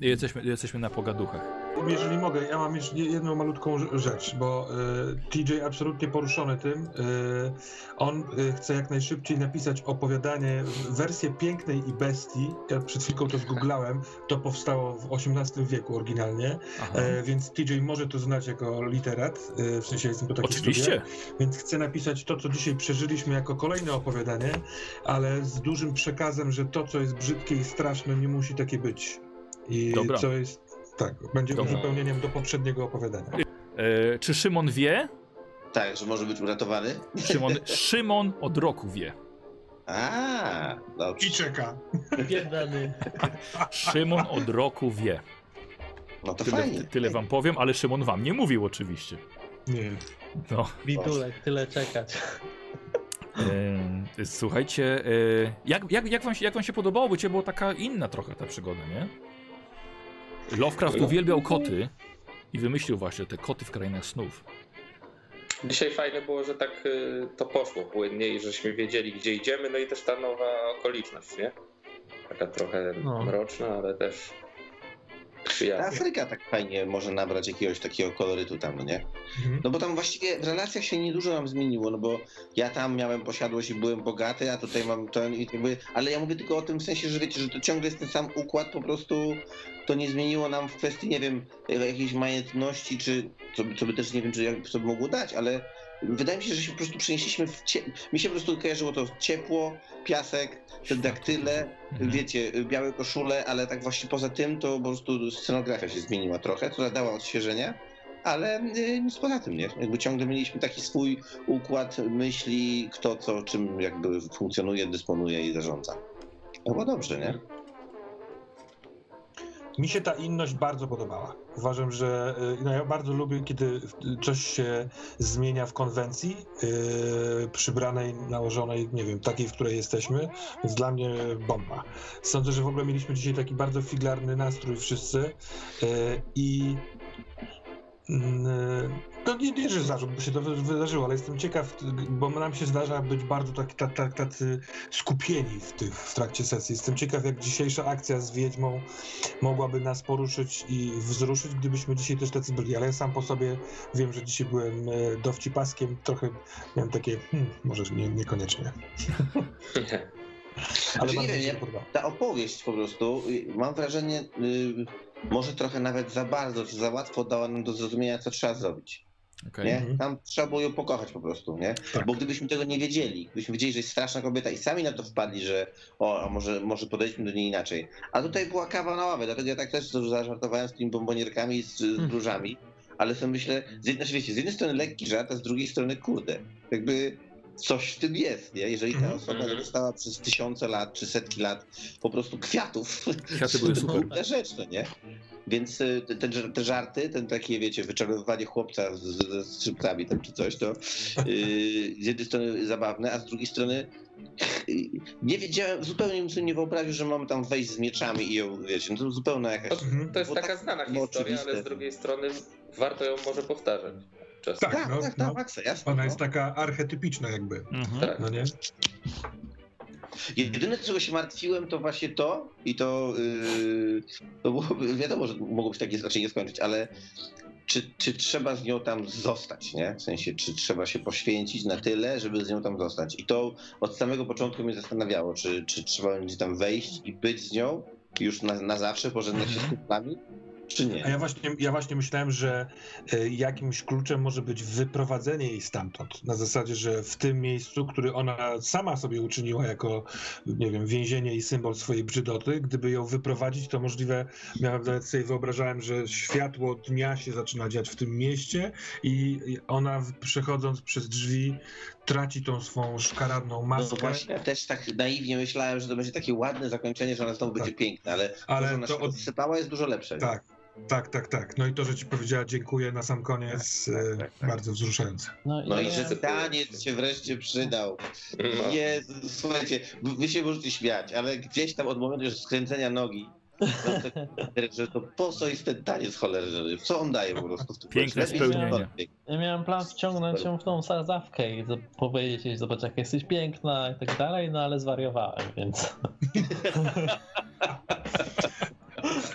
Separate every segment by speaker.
Speaker 1: Jesteśmy, jesteśmy na pogaduchach.
Speaker 2: Jeżeli mogę, ja mam jeszcze jedną malutką rz- rzecz, bo y, TJ absolutnie poruszony tym. Y, on y, chce jak najszybciej napisać opowiadanie, w- wersję pięknej i bestii. Ja przed chwilką to zgooglałem. To powstało w XVIII wieku oryginalnie,
Speaker 1: Aha.
Speaker 2: e, więc TJ może to znać jako literat. Y, w sensie jestem po takich
Speaker 1: Oczywiście.
Speaker 2: studiach, więc chcę napisać to, co dzisiaj przeżyliśmy jako kolejne opowiadanie, ale z dużym przekazem, że to, co jest brzydkie i straszne, nie musi takie być. I
Speaker 1: Dobra.
Speaker 2: co jest. Tak, będzie
Speaker 1: Dobra.
Speaker 2: uzupełnieniem do poprzedniego opowiadania.
Speaker 1: E, czy Szymon wie?
Speaker 3: Tak, że może być uratowany?
Speaker 1: Szymon, Szymon od roku wie.
Speaker 3: A,
Speaker 2: I
Speaker 3: dobrze.
Speaker 2: czeka.
Speaker 4: Pierdany.
Speaker 1: Szymon od roku wie.
Speaker 3: No to
Speaker 1: Tyle,
Speaker 3: fajnie.
Speaker 1: tyle wam powiem, ale Szymon wam nie mówił oczywiście.
Speaker 2: Nie.
Speaker 1: No.
Speaker 4: Bidulek, tyle czekać.
Speaker 1: E, słuchajcie, e, jak, jak, jak, wam się, jak wam się podobało? Bo cię było taka inna trochę ta przygoda, nie? Lovecraft uwielbiał koty i wymyślił właśnie te koty w krainach snów.
Speaker 5: Dzisiaj fajne było, że tak y, to poszło płynnie i żeśmy wiedzieli, gdzie idziemy, no i też ta nowa okoliczność, nie? Taka trochę
Speaker 4: No.
Speaker 5: mroczna, ale też
Speaker 3: Ta
Speaker 5: przyjazna.
Speaker 3: Afryka tak fajnie może nabrać jakiegoś takiego kolorytu tam, nie?
Speaker 2: Mhm.
Speaker 3: No bo tam właściwie w relacjach się niedużo nam zmieniło, no bo ja tam miałem posiadłość i byłem bogaty, a tutaj mam ten i jakby, ale ja mówię tylko o tym w sensie, że wiecie, że to ciągle jest ten sam układ, po prostu to nie zmieniło nam w kwestii, nie wiem, e, jakiejś majętności, czy co, by- co by też nie wiem, czy jak, co by mogło dać, ale wydaje mi się, że się po prostu przenieśliśmy w cie... mi się po prostu kojarzyło to ciepło, piasek, te daktyle,
Speaker 1: Mhm.
Speaker 3: wiecie, białe koszule, ale tak właśnie poza tym to po prostu scenografia się zmieniła trochę, która dała odświeżenie, ale y, nic poza tym, nie? Jakby ciągle mieliśmy taki swój układ myśli, kto co, czym jakby funkcjonuje, dysponuje i zarządza. To było dobrze, nie?
Speaker 2: Mi się ta inność bardzo podobała. Uważam, że y, no ja bardzo lubię, kiedy y, coś się zmienia w konwencji y, przybranej, nałożonej, nie wiem, takiej, w której jesteśmy, więc dla mnie bomba. Sądzę, że w ogóle mieliśmy dzisiaj taki bardzo figlarny nastrój wszyscy y, i mm, no nie, nie, że zarzut, bo się to wy- wydarzyło, ale jestem ciekaw, g- bo nam się zdarza być bardzo tak, tak, tak, tacy skupieni w, tych, w trakcie sesji. Jestem ciekaw, jak dzisiejsza akcja z Wiedźmą mogłaby nas poruszyć i wzruszyć, gdybyśmy dzisiaj też tacy byli. Ale ja sam po sobie wiem, że dzisiaj byłem e, dowcipaskiem, trochę miałem takie, hmm, może nie, niekoniecznie. Ale
Speaker 3: Znaczy,
Speaker 2: bardzo mi
Speaker 3: nie
Speaker 2: się
Speaker 3: wiem,
Speaker 2: podoba.
Speaker 3: Ta opowieść po prostu, y, mam wrażenie, y, może trochę nawet za bardzo, czy za łatwo dała nam do zrozumienia, co trzeba zrobić.
Speaker 1: Okej.
Speaker 3: Nie?
Speaker 2: Mhm.
Speaker 3: Tam trzeba było ją pokochać po prostu, nie?
Speaker 2: Tak.
Speaker 3: Bo gdybyśmy tego nie wiedzieli, gdybyśmy wiedzieli, że jest straszna kobieta i sami na to wpadli, że o, a może, może podejdźmy do niej inaczej. A tutaj była kawa na ławę, dlatego ja tak też zażartowałem z tymi bombonierkami i z,
Speaker 2: Mhm.
Speaker 3: z różami, ale sobie myślę, z jednej, znaczy wiecie, z jednej strony lekki żart, a z drugiej strony kurde, jakby coś w tym jest, nie? Jeżeli ta
Speaker 2: Mhm.
Speaker 3: osoba
Speaker 5: Mhm.
Speaker 3: dostała przez tysiące lat, czy setki lat po prostu kwiatów,
Speaker 1: Kwiaty były super.
Speaker 3: Kurde rzecz, no nie? Więc y, te, te, żar- te żarty, ten takie, wiecie, wyczarowywanie chłopca z, z, z szybkami tam czy coś, to y, z jednej strony zabawne, a z drugiej strony y, nie wiedziałem, zupełnie bym sobie nie wyobraził, że mamy tam wejść z mieczami i ją, wiecie, no to zupełna jakaś...
Speaker 2: Mhm.
Speaker 5: To jest
Speaker 3: Bo
Speaker 5: taka
Speaker 3: tak
Speaker 5: znana
Speaker 3: było
Speaker 5: historia, ale
Speaker 3: oczywiste.
Speaker 5: z drugiej strony warto ją może powtarzać. Czasem.
Speaker 2: Tak,
Speaker 3: Tak, tak,
Speaker 2: no,
Speaker 3: tak,
Speaker 2: no.
Speaker 3: Maxa, jasne.
Speaker 2: Ona
Speaker 3: no.
Speaker 2: jest taka archetypiczna jakby,
Speaker 1: Mhm.
Speaker 5: Tak.
Speaker 2: no nie?
Speaker 3: Jedyne, czego się martwiłem, to właśnie to i to, yy, to byłoby, wiadomo, że mogło się tak raczej nie skończyć, ale czy, czy trzeba z nią tam zostać, nie? W sensie, czy trzeba się poświęcić na tyle, żeby z nią tam zostać. I to od samego początku mnie zastanawiało, czy, czy trzeba będzie tam wejść i być z nią już na, na zawsze, pożegnać się z kumplami, czy
Speaker 2: Mhm. A
Speaker 3: nie?
Speaker 2: ja właśnie, ja właśnie myślałem, że e, jakimś kluczem może być wyprowadzenie jej stamtąd. Na zasadzie, że w tym miejscu, który ona sama sobie uczyniła jako, nie wiem, więzienie i symbol swojej brzydoty, gdyby ją wyprowadzić, to możliwe, miałem nawet sobie wyobrażałem, że światło dnia się zaczyna dziać w tym mieście i i ona w- przechodząc przez drzwi traci tą swą szkaradną
Speaker 3: No
Speaker 2: maskę,
Speaker 3: właśnie, ja też tak naiwnie myślałem, że to będzie takie ładne zakończenie, że ona znowu będzie piękna, ale, to, że
Speaker 2: Tak. ale
Speaker 3: ona
Speaker 2: to
Speaker 3: się
Speaker 2: od...
Speaker 3: odsypała jest dużo lepsze.
Speaker 2: Tak, tak, tak, tak. No i to, że ci powiedziała dziękuję na sam koniec, e,
Speaker 3: tak, tak.
Speaker 2: bardzo wzruszające.
Speaker 3: No i
Speaker 4: ja-
Speaker 3: że taniec się wreszcie przydał.
Speaker 5: No.
Speaker 3: Jezu, słuchajcie, wy się możecie śmiać, ale gdzieś tam od momentu już skręcenia nogi, no to, że to po co jest ten taniec cholerny? Co on daje po prostu? w tym No,
Speaker 1: Piękne
Speaker 3: meczu? Lepiej
Speaker 4: spełnienie.
Speaker 3: się odbić.
Speaker 4: Ja miałem plan wciągnąć ją w tą sadzawkę i z- powiedzieć jej, zobacz jak jesteś piękna i tak dalej, no ale zwariowałem, więc...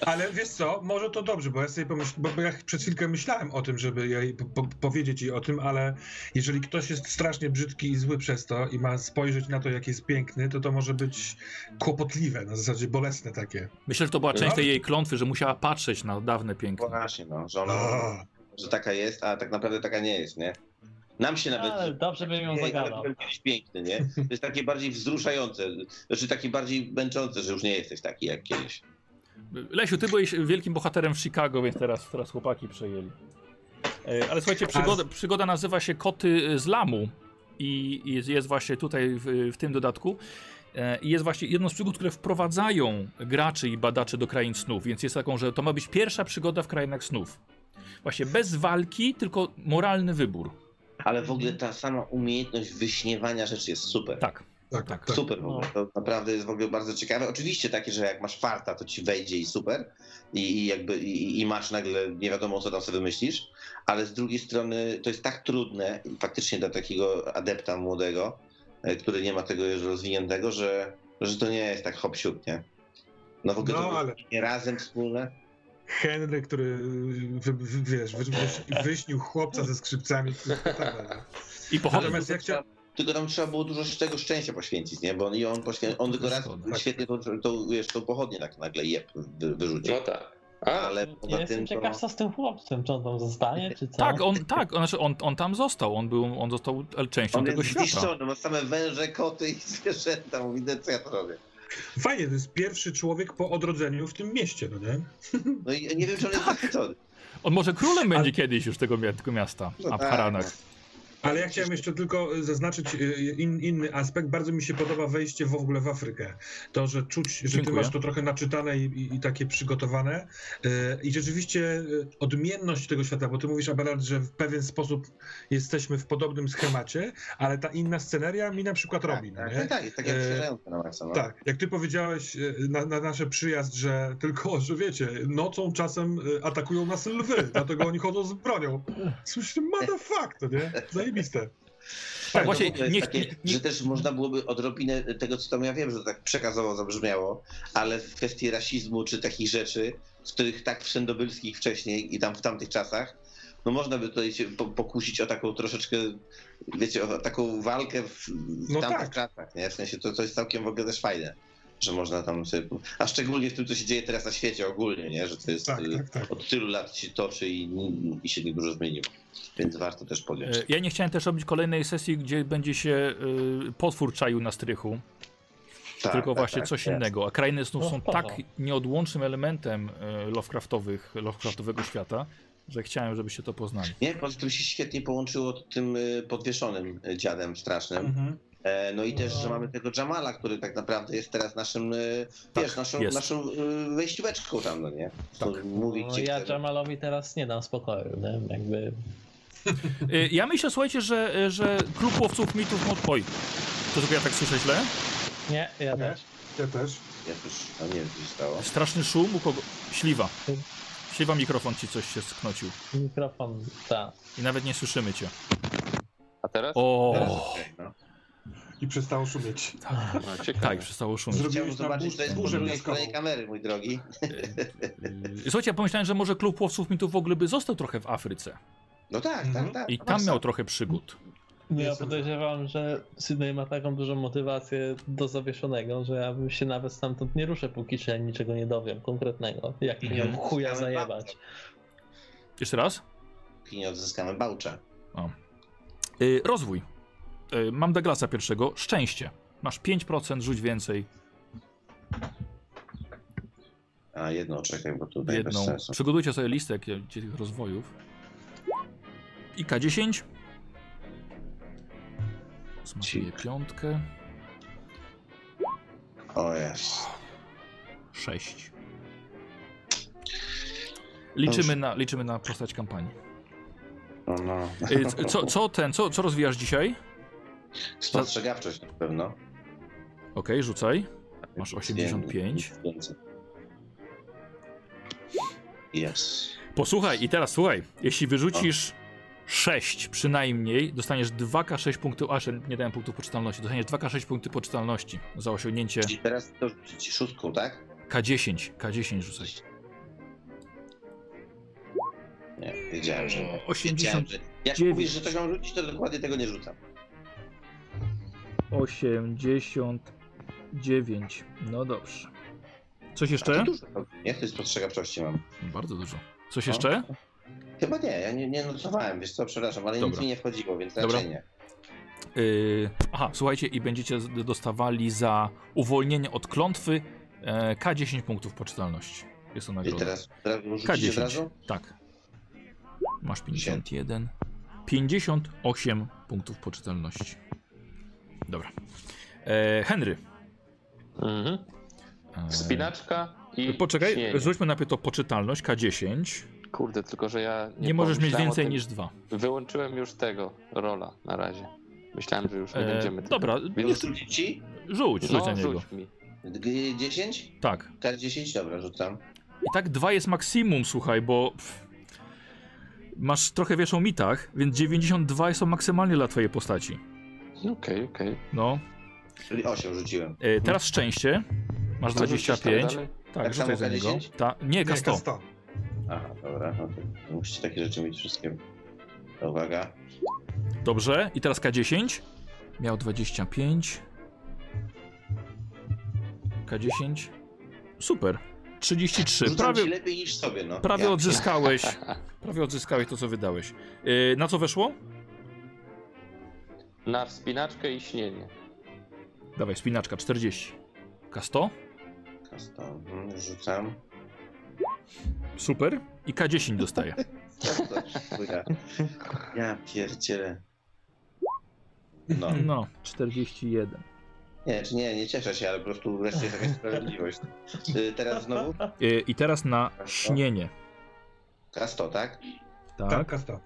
Speaker 2: Ale wiesz co, może to dobrze, bo ja sobie pomyśl, bo bo ja przed chwilkę myślałem o tym, żeby jej po, po, powiedzieć jej o tym, ale jeżeli ktoś jest strasznie brzydki i zły przez to i ma spojrzeć na to, jak jest piękny, to to może być kłopotliwe, na zasadzie bolesne takie.
Speaker 1: Myślę, że to była
Speaker 2: No.
Speaker 1: część tej jej klątwy, że musiała patrzeć na dawne piękno.
Speaker 3: Właśnie, no, że ona,
Speaker 2: O,
Speaker 3: że taka jest, a tak naprawdę taka nie jest, nie? Nam się nawet...
Speaker 4: Ale dobrze bym ją
Speaker 3: Nie,
Speaker 4: zagadał.
Speaker 3: ale Jest piękny, nie? To jest takie bardziej wzruszające, znaczy takie bardziej męczące, że już nie jesteś taki jak kiedyś.
Speaker 1: Lesiu, ty byłeś wielkim bohaterem w Chicago, więc teraz, teraz chłopaki przejęli. E, Ale słuchajcie,
Speaker 3: Tak.
Speaker 1: przygoda, przygoda nazywa się Koty z Lamu i i jest, jest właśnie tutaj w, w tym dodatku. E, I jest właśnie jedną z przygód, które wprowadzają graczy i badaczy do krain snów, więc jest taką, że to ma być pierwsza przygoda w krainach snów. Właśnie bez walki, tylko moralny wybór.
Speaker 3: Ale w ogóle ta sama umiejętność wyśniewania rzeczy jest super.
Speaker 1: Tak. Tak.
Speaker 2: tak, tak, tak.
Speaker 3: Super w ogóle. To naprawdę jest w ogóle bardzo ciekawe. Oczywiście takie, że jak masz farta, to ci wejdzie i super. I, i jakby i, i masz nagle nie wiadomo, co tam sobie wymyślisz, ale z drugiej strony to jest tak trudne i faktycznie dla takiego adepta młodego, e, który nie ma tego już rozwiniętego, że, że to nie jest tak hop siup, nie? No w ogóle
Speaker 2: No,
Speaker 3: to
Speaker 2: ale-
Speaker 3: nie razem wspólne.
Speaker 2: Henry, który, wy, wy, wiesz, wy, wy, wyśnił chłopca ze skrzypcami. tak
Speaker 1: I pochodzi.
Speaker 2: Natomiast ja chciałem...
Speaker 3: Tylko tam trzeba było dużo z tego szczęścia poświęcić, nie? Bo on, i on, poświę... on tylko raz
Speaker 1: Zgoda.
Speaker 3: świetnie tą, tą, wiesz, tą pochodnię tak nagle jeb wy, wyrzucił.
Speaker 5: No tak. A,
Speaker 3: Ale
Speaker 4: Ja
Speaker 3: poza
Speaker 4: jestem
Speaker 3: tym to...
Speaker 4: ciekaw, co z tym chłopcem, czy on tam zostanie, czy co?
Speaker 1: Tak,
Speaker 3: No.
Speaker 1: on, tak on, znaczy on, on tam został, on, był, on został częścią
Speaker 3: On
Speaker 1: tego
Speaker 3: jest
Speaker 1: świata.
Speaker 3: zniszczony, ma same węże, koty i zwierzęta. Mówi, "No co ja to robię.
Speaker 2: Fajnie, to jest pierwszy człowiek po odrodzeniu w tym mieście, no nie?
Speaker 3: No i nie wiem, czy on jest zachwycony.
Speaker 1: On może królem będzie
Speaker 2: Ale-
Speaker 1: kiedyś już tego, mia- tego miasta,
Speaker 3: No tak.
Speaker 1: Abharanak.
Speaker 2: Ale ja chciałem jeszcze tylko zaznaczyć y, in, inny aspekt. Bardzo mi się podoba wejście w ogóle w Afrykę. To, że czuć, że
Speaker 1: Dziękuję.
Speaker 2: ty masz to trochę naczytane i, i, i takie przygotowane. Y, I rzeczywiście y, odmienność tego świata, bo ty mówisz, Abelard, że w pewien sposób jesteśmy w podobnym schemacie, ale ta inna sceneria mi na przykład robi, no
Speaker 3: Tak,
Speaker 2: nie?
Speaker 3: tak, tak, jest takie
Speaker 2: E,
Speaker 3: odświeżające na maksa. No.
Speaker 2: Tak, jak ty powiedziałeś y, na, na nasze przyjazd, że tylko, że wiecie, nocą czasem y, atakują nas lwy, dlatego oni chodzą z bronią. Słyszycie, motherfucker, nie? Zajebiste.
Speaker 1: Tak, właśnie,
Speaker 3: no to
Speaker 1: nie-
Speaker 3: jest takie,
Speaker 1: nie-
Speaker 3: że też można byłoby odrobinę tego, co tam ja wiem, że tak przekazowo zabrzmiało, ale w kwestii rasizmu czy takich rzeczy, z których tak wszędobylskich wcześniej i tam w tamtych czasach, no można by tutaj się po- pokusić o taką troszeczkę, wiecie, o taką walkę w, w
Speaker 2: No
Speaker 3: tamtych
Speaker 2: tak.
Speaker 3: czasach, nie? W sensie to, to jest całkiem w ogóle też fajne, że można tam sobie, a szczególnie w tym, co się dzieje teraz na świecie ogólnie, nie? Że to jest...
Speaker 2: Tak,
Speaker 3: y,
Speaker 2: tak, tak.
Speaker 3: Od tylu lat się toczy i, i się niedużo zmieniło, więc warto też podjąć.
Speaker 1: E, Ja nie chciałem też robić kolejnej sesji, gdzie będzie się y, potwór czaił na strychu,
Speaker 3: Tak,
Speaker 1: tylko
Speaker 3: tak,
Speaker 1: właśnie
Speaker 3: tak,
Speaker 1: coś
Speaker 3: jasne.
Speaker 1: innego. A krainy snów
Speaker 4: No,
Speaker 1: są
Speaker 4: spoko.
Speaker 1: tak nieodłącznym elementem y, Lovecraftowych, Lovecraftowego świata, że chciałem, żebyście to poznali.
Speaker 3: Nie, poza tym się świetnie połączyło z tym y, podwieszonym y, dziadem strasznym.
Speaker 2: Mhm.
Speaker 3: E, No i też, że
Speaker 4: No.
Speaker 3: mamy tego Jamala, który tak naprawdę jest teraz naszym, y,
Speaker 1: Tak,
Speaker 3: wiesz, naszą,
Speaker 1: jest.
Speaker 3: naszą y, wejścióweczką tam, no nie?
Speaker 1: Tak.
Speaker 3: Który Mówi
Speaker 4: No,
Speaker 3: ci,
Speaker 4: ja
Speaker 3: który-
Speaker 4: Jamalowi teraz nie dam spokoju, nie? jakby
Speaker 1: Y, Ja myślę, słuchajcie, że, e, że klub łowców mitów... mo- Oj, to tylko ja tak słyszę źle?
Speaker 4: Nie, ja
Speaker 2: Nie?
Speaker 4: też.
Speaker 2: Ja też.
Speaker 3: Ja też, no nie wiem, co się stało.
Speaker 1: Straszny szum u kogo? Śliwa. Śliwa mikrofon ci coś się sknocił.
Speaker 4: Mikrofon, ta.
Speaker 1: I nawet nie słyszymy cię.
Speaker 5: a teraz?
Speaker 3: Teraz
Speaker 1: O,
Speaker 3: okej, no.
Speaker 2: I przestało szumieć.
Speaker 5: A, ciekawe.
Speaker 1: tak, przestało szumieć.
Speaker 3: Chciałbym
Speaker 2: Zrobiłeś nam
Speaker 3: zobaczyć, co
Speaker 2: bur-
Speaker 3: jest po
Speaker 2: burzę
Speaker 3: drugiej stronie
Speaker 2: piaskową.
Speaker 3: kamery, mój drogi.
Speaker 1: Yy, Słuchajcie, ja pomyślałem, że może klub łowców mitów w ogóle by został trochę w Afryce
Speaker 3: No tak, tak,
Speaker 2: Mhm.
Speaker 3: tak.
Speaker 1: i
Speaker 3: no
Speaker 1: tam
Speaker 3: właśnie.
Speaker 1: miał trochę przygód.
Speaker 4: Ja
Speaker 2: Jestem za.
Speaker 4: podejrzewam, że Sydney ma taką dużą motywację do zawieszonego, że ja bym się nawet stamtąd nie ruszę, póki się niczego nie dowiem konkretnego. Jak mi ją
Speaker 1: Mhm.
Speaker 4: chuja zajebać.
Speaker 1: Jeszcze raz?
Speaker 3: Póki nie odzyskamy Bałcza.
Speaker 1: Yy, rozwój. Yy, mam Douglasa pierwszego. Szczęście. Masz 5%, rzuć więcej.
Speaker 3: A jedną, czekaj, bo tutaj bez
Speaker 1: Jedną.
Speaker 3: sensu.
Speaker 1: Przygotujcie sobie listę kie- kie- tych rozwojów. I K10. Smakuję
Speaker 3: Cik.
Speaker 1: piątkę.
Speaker 3: O jest.
Speaker 1: 6. Liczymy na, liczymy na postać kampanii.
Speaker 3: No, no.
Speaker 1: Yy, c- Co, co ten, co, co rozwijasz dzisiaj?
Speaker 3: Spostrzegawczość na pewno.
Speaker 1: Okej, rzucaj. Masz 85.
Speaker 3: Yes.
Speaker 1: Posłuchaj i teraz słuchaj, jeśli wyrzucisz 6 przynajmniej, dostaniesz 2k6 punktów, a jeszcze nie dałem punktów poczytalności, dostaniesz 2k6 punkty poczytalności za osiągnięcie
Speaker 3: I teraz to rzucić szóstką, tak?
Speaker 1: K10, K10 rzucaj.
Speaker 3: Nie, wiedziałem, że nie.
Speaker 1: 80,
Speaker 3: Wiedziałem, że... Jak
Speaker 1: Eee, dziewięć.
Speaker 3: mówisz, że coś mam rzucić, to dokładnie tego nie rzucam.
Speaker 1: 89. No dobrze. Coś
Speaker 3: A to
Speaker 1: jeszcze?
Speaker 3: dużo. Ja to spostrzegawczości mam.
Speaker 1: Bardzo dużo. Coś
Speaker 3: No.
Speaker 1: jeszcze?
Speaker 3: Chyba nie, ja nie, nie notowałem, wiesz co, przepraszam, ale nic
Speaker 1: Dobra.
Speaker 3: mi nie wchodziło, więc
Speaker 1: Dobra.
Speaker 3: raczej nie.
Speaker 1: Y, aha, słuchajcie, i będziecie z- dostawali za uwolnienie od klątwy e, K10 punktów poczytalności. Jest to
Speaker 3: I
Speaker 1: nagroda.
Speaker 3: teraz, teraz rzucić od
Speaker 1: K10.
Speaker 3: razu?
Speaker 1: Tak. Masz 51. 58 punktów poczytalności. Dobra. E, Henry.
Speaker 4: Mhm.
Speaker 1: E,
Speaker 5: Wspinaczka i.
Speaker 1: Poczekaj,
Speaker 5: ciśnienie.
Speaker 1: rzućmy najpierw to poczytalność K10.
Speaker 5: Kurde, tylko że ja.
Speaker 1: Nie, możesz mieć
Speaker 5: pomyślałem o
Speaker 1: więcej
Speaker 5: tym.
Speaker 1: niż dwa.
Speaker 5: Wyłączyłem już tego rola na razie. Myślałem, że już nie
Speaker 1: E,
Speaker 5: będziemy. tego-
Speaker 1: dobra,
Speaker 3: Już rzucić ci?
Speaker 1: rzuć, rzuć na
Speaker 5: no,
Speaker 1: niego.
Speaker 5: rzuć mi.
Speaker 3: G- 10?
Speaker 1: Tak.
Speaker 3: K10? Dobra, rzucam.
Speaker 1: I tak dwa jest maksimum, słuchaj, bo pff, masz trochę wiesz o mitach, więc 92 są maksymalnie dla twojej postaci.
Speaker 5: Okej, okej.
Speaker 1: No.
Speaker 3: Czyli 8 rzuciłem.
Speaker 1: E, teraz szczęście. Masz
Speaker 5: To rzucisz tam
Speaker 1: 25.
Speaker 5: dalej?
Speaker 1: Tak,
Speaker 3: Tak
Speaker 1: rzucaj
Speaker 3: samo
Speaker 1: za niego.
Speaker 3: K10?
Speaker 1: Ta, nie,
Speaker 2: Nie,
Speaker 1: K100.
Speaker 2: K100.
Speaker 3: Aha, dobra, no to musicie takie rzeczy mieć wszystkie. Uwaga.
Speaker 1: Dobrze. I teraz K10. Miał 25. K10. Super. 33.
Speaker 3: Rzucam
Speaker 1: Prawie,
Speaker 3: ci lepiej niż sobie, no.
Speaker 1: prawie
Speaker 3: ja,
Speaker 1: odzyskałeś. Prawie odzyskałeś to, co wydałeś. E, na co weszło?
Speaker 5: Na wspinaczkę i śnienie.
Speaker 1: Dawaj, spinaczka 40. K100.
Speaker 3: K100, mhm, Rzucam.
Speaker 1: Super. I K10 dostaje.
Speaker 3: Uwaga. Ja pierdzielę. No.
Speaker 1: No, 41.
Speaker 3: Nie, czy nie, nie cieszę się, ale po prostu wreszcie jest jakaś sprawiedliwość. Y, Teraz znowu?
Speaker 1: Y, I teraz na śnienie.
Speaker 3: K100, tak?
Speaker 2: Tak,
Speaker 1: Tak.
Speaker 2: K100.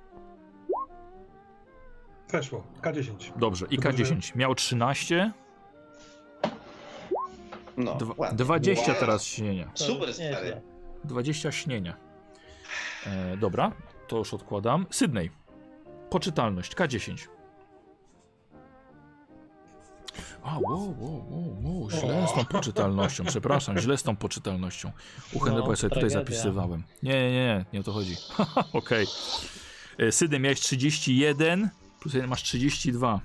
Speaker 2: Weszło, K10.
Speaker 1: Dobrze, i
Speaker 2: Tylko, że-
Speaker 1: K10. Miał 13,
Speaker 3: No,
Speaker 1: dwa-
Speaker 3: ładnie.
Speaker 1: 20
Speaker 3: Wow.
Speaker 1: teraz śnienia.
Speaker 4: To
Speaker 3: Super,
Speaker 4: nieźle.
Speaker 3: stary.
Speaker 1: 20 śnienia. E, dobra, to już odkładam. Sydney. Poczytalność, K10. A, wow, wow, wow, wow, źle z tą poczytalnością, przepraszam, źle z tą poczytalnością. U Henryka
Speaker 4: No,
Speaker 1: ja sobie tutaj
Speaker 4: tragedia.
Speaker 1: zapisywałem. Nie, nie, nie, nie o to chodzi. Haha, Okej. Okay. Sydney miałeś 31, plus 1 masz 32.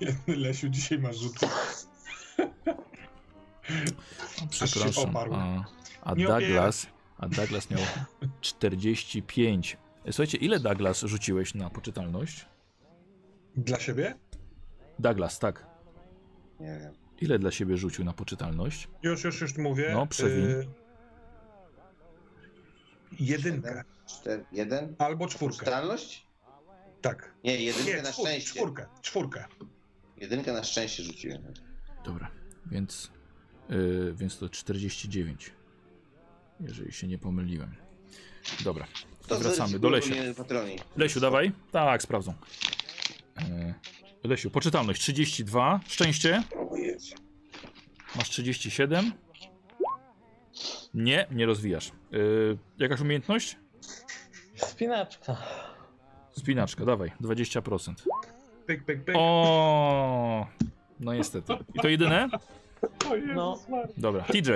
Speaker 2: Biedny Lesiu dzisiaj ma rzuty. Aż się
Speaker 1: Przepraszam.
Speaker 2: oparł.
Speaker 1: A, a
Speaker 2: Nie
Speaker 1: Douglas, a Douglas miał 45. Słuchajcie, ile Douglas rzuciłeś na poczytalność?
Speaker 2: Dla siebie?
Speaker 1: Douglas, tak.
Speaker 3: Nie wiem.
Speaker 1: Ile dla siebie rzucił na poczytalność?
Speaker 2: Już, już, już mówię.
Speaker 1: No, przewin.
Speaker 2: Y, Jedynkę.
Speaker 3: Czter, jeden?
Speaker 2: Albo czwórkę.
Speaker 3: Stalność?
Speaker 2: Tak.
Speaker 3: Nie, jedynkę
Speaker 2: Nie,
Speaker 3: na
Speaker 2: czwór,
Speaker 3: szczęście.
Speaker 2: czwórkę, czwórkę.
Speaker 3: Jedynkę na szczęście rzuciłem.
Speaker 1: Dobra, więc, yy, więc to 49. Jeżeli się nie pomyliłem. Dobra, to wracamy do Lesia.
Speaker 3: zweryfikujmy Patroni.
Speaker 1: Lesiu, dawaj. Tak, sprawdzą. E, Lesiu, poczytalność 32. Szczęście.
Speaker 3: O Jezu.
Speaker 1: Masz 37. Nie, nie rozwijasz. Yy, jakaś umiejętność?
Speaker 4: Wspinaczka.
Speaker 1: Spinaczka, dawaj, 20%.
Speaker 2: Pyk, pyk, pyk.
Speaker 1: O, no niestety. I to jedyne?
Speaker 2: O Jezus
Speaker 4: No.
Speaker 2: Maria.
Speaker 1: Dobra, TJ.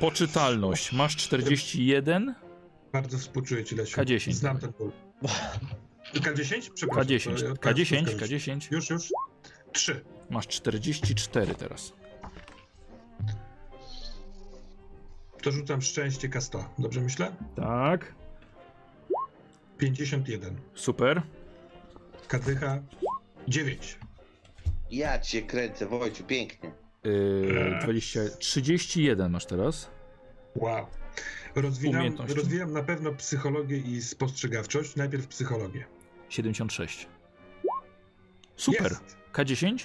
Speaker 1: Poczytalność, masz 41,
Speaker 2: Bardzo współczuję ci, Lesiu.
Speaker 1: K10.
Speaker 2: Znam ten ból. K10? Przepraszam.
Speaker 1: K10,
Speaker 2: to ja-
Speaker 1: K10,
Speaker 2: to ja-
Speaker 1: K10,
Speaker 2: Już, już. Trzy.
Speaker 1: masz 44 teraz.
Speaker 2: To rzucam szczęście K100. Dobrze myślę?
Speaker 1: Tak.
Speaker 2: 51.
Speaker 1: Super.
Speaker 2: Kadycha 9.
Speaker 3: Ja cię kręcę, Wojciu, pięknie.
Speaker 1: Yy,
Speaker 2: Eee.
Speaker 1: 20, 31 masz teraz.
Speaker 2: Wow. Rozwijam,
Speaker 1: Umiejętności.
Speaker 2: rozwijam na pewno psychologię i spostrzegawczość. Najpierw psychologię.
Speaker 1: 76. Super.
Speaker 2: Jest.
Speaker 1: K10?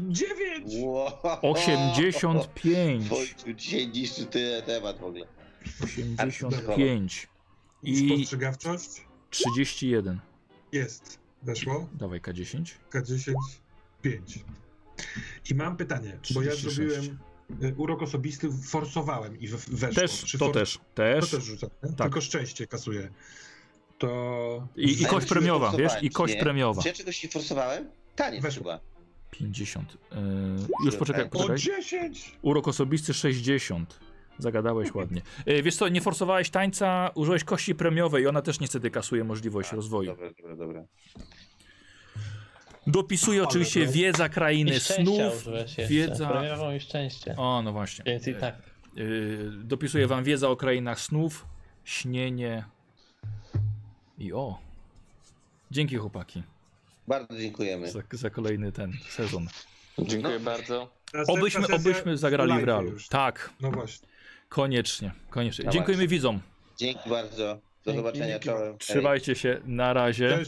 Speaker 2: 9!
Speaker 3: Wow.
Speaker 1: 85.
Speaker 3: Wojciu, dzisiaj niszczy tyle temat w ogóle.
Speaker 1: 85. I
Speaker 2: Spostrzegawczość
Speaker 1: 31.
Speaker 2: jest. Weszło.
Speaker 1: Dawaj K10.
Speaker 2: K10, 5. I mam pytanie, bo ja
Speaker 1: 36.
Speaker 2: zrobiłem y, urok osobisty, forsowałem i w- weszło.
Speaker 1: Też,
Speaker 2: Czy
Speaker 1: to
Speaker 2: for-
Speaker 1: też,
Speaker 2: To
Speaker 1: też.
Speaker 2: też rzucam, nie?
Speaker 1: Tak.
Speaker 2: tylko szczęście kasuje. To
Speaker 1: I, I
Speaker 3: Zajęcie
Speaker 1: kość premiowa, wiesz?
Speaker 3: forsowałem,
Speaker 1: I kość
Speaker 3: nie?
Speaker 1: premiowa.
Speaker 3: Czy ja czegoś nie forsowałem? Taniec
Speaker 2: Weszło.
Speaker 3: chyba.
Speaker 1: 50. E, już poczekaj,
Speaker 2: O
Speaker 1: poczekaj.
Speaker 2: 10!
Speaker 1: Urok osobisty 60. Zagadałeś ładnie. E, Wiesz co, nie forsowałeś tańca, użyłeś kości premiowej, ona też niestety kasuje możliwość rozwoju.
Speaker 3: Dobra, dobra, dobra.
Speaker 1: Dopisuje
Speaker 2: Ale no.
Speaker 1: oczywiście
Speaker 2: to-
Speaker 1: wiedza krainy
Speaker 4: I szczęścia
Speaker 1: snów.
Speaker 4: użyłeś jeszcze.
Speaker 1: wiedza-
Speaker 4: Premiową i szczęście.
Speaker 1: O, no właśnie.
Speaker 4: Więc i
Speaker 1: E,
Speaker 4: tak.
Speaker 1: Yy, dopisuje wam wiedza o krainach snów, śnienie i o. Dzięki chłopaki
Speaker 3: Bardzo dziękujemy.
Speaker 1: za, za kolejny ten sezon.
Speaker 5: Dziękuję bardzo.
Speaker 2: Następna
Speaker 1: Obyśmy,
Speaker 2: sesja
Speaker 1: obyśmy zagrali w
Speaker 2: live
Speaker 1: realu.
Speaker 2: już.
Speaker 1: Tak,
Speaker 2: No właśnie.
Speaker 1: koniecznie, koniecznie.
Speaker 4: No
Speaker 5: Dawaj.
Speaker 1: Dziękujemy widzom.
Speaker 3: Dzięki bardzo. Do
Speaker 4: Dzięki,
Speaker 3: zobaczenia.
Speaker 2: dzięki.
Speaker 3: Czołem. Hej.
Speaker 1: Trzymajcie się, na razie.
Speaker 2: Cześć.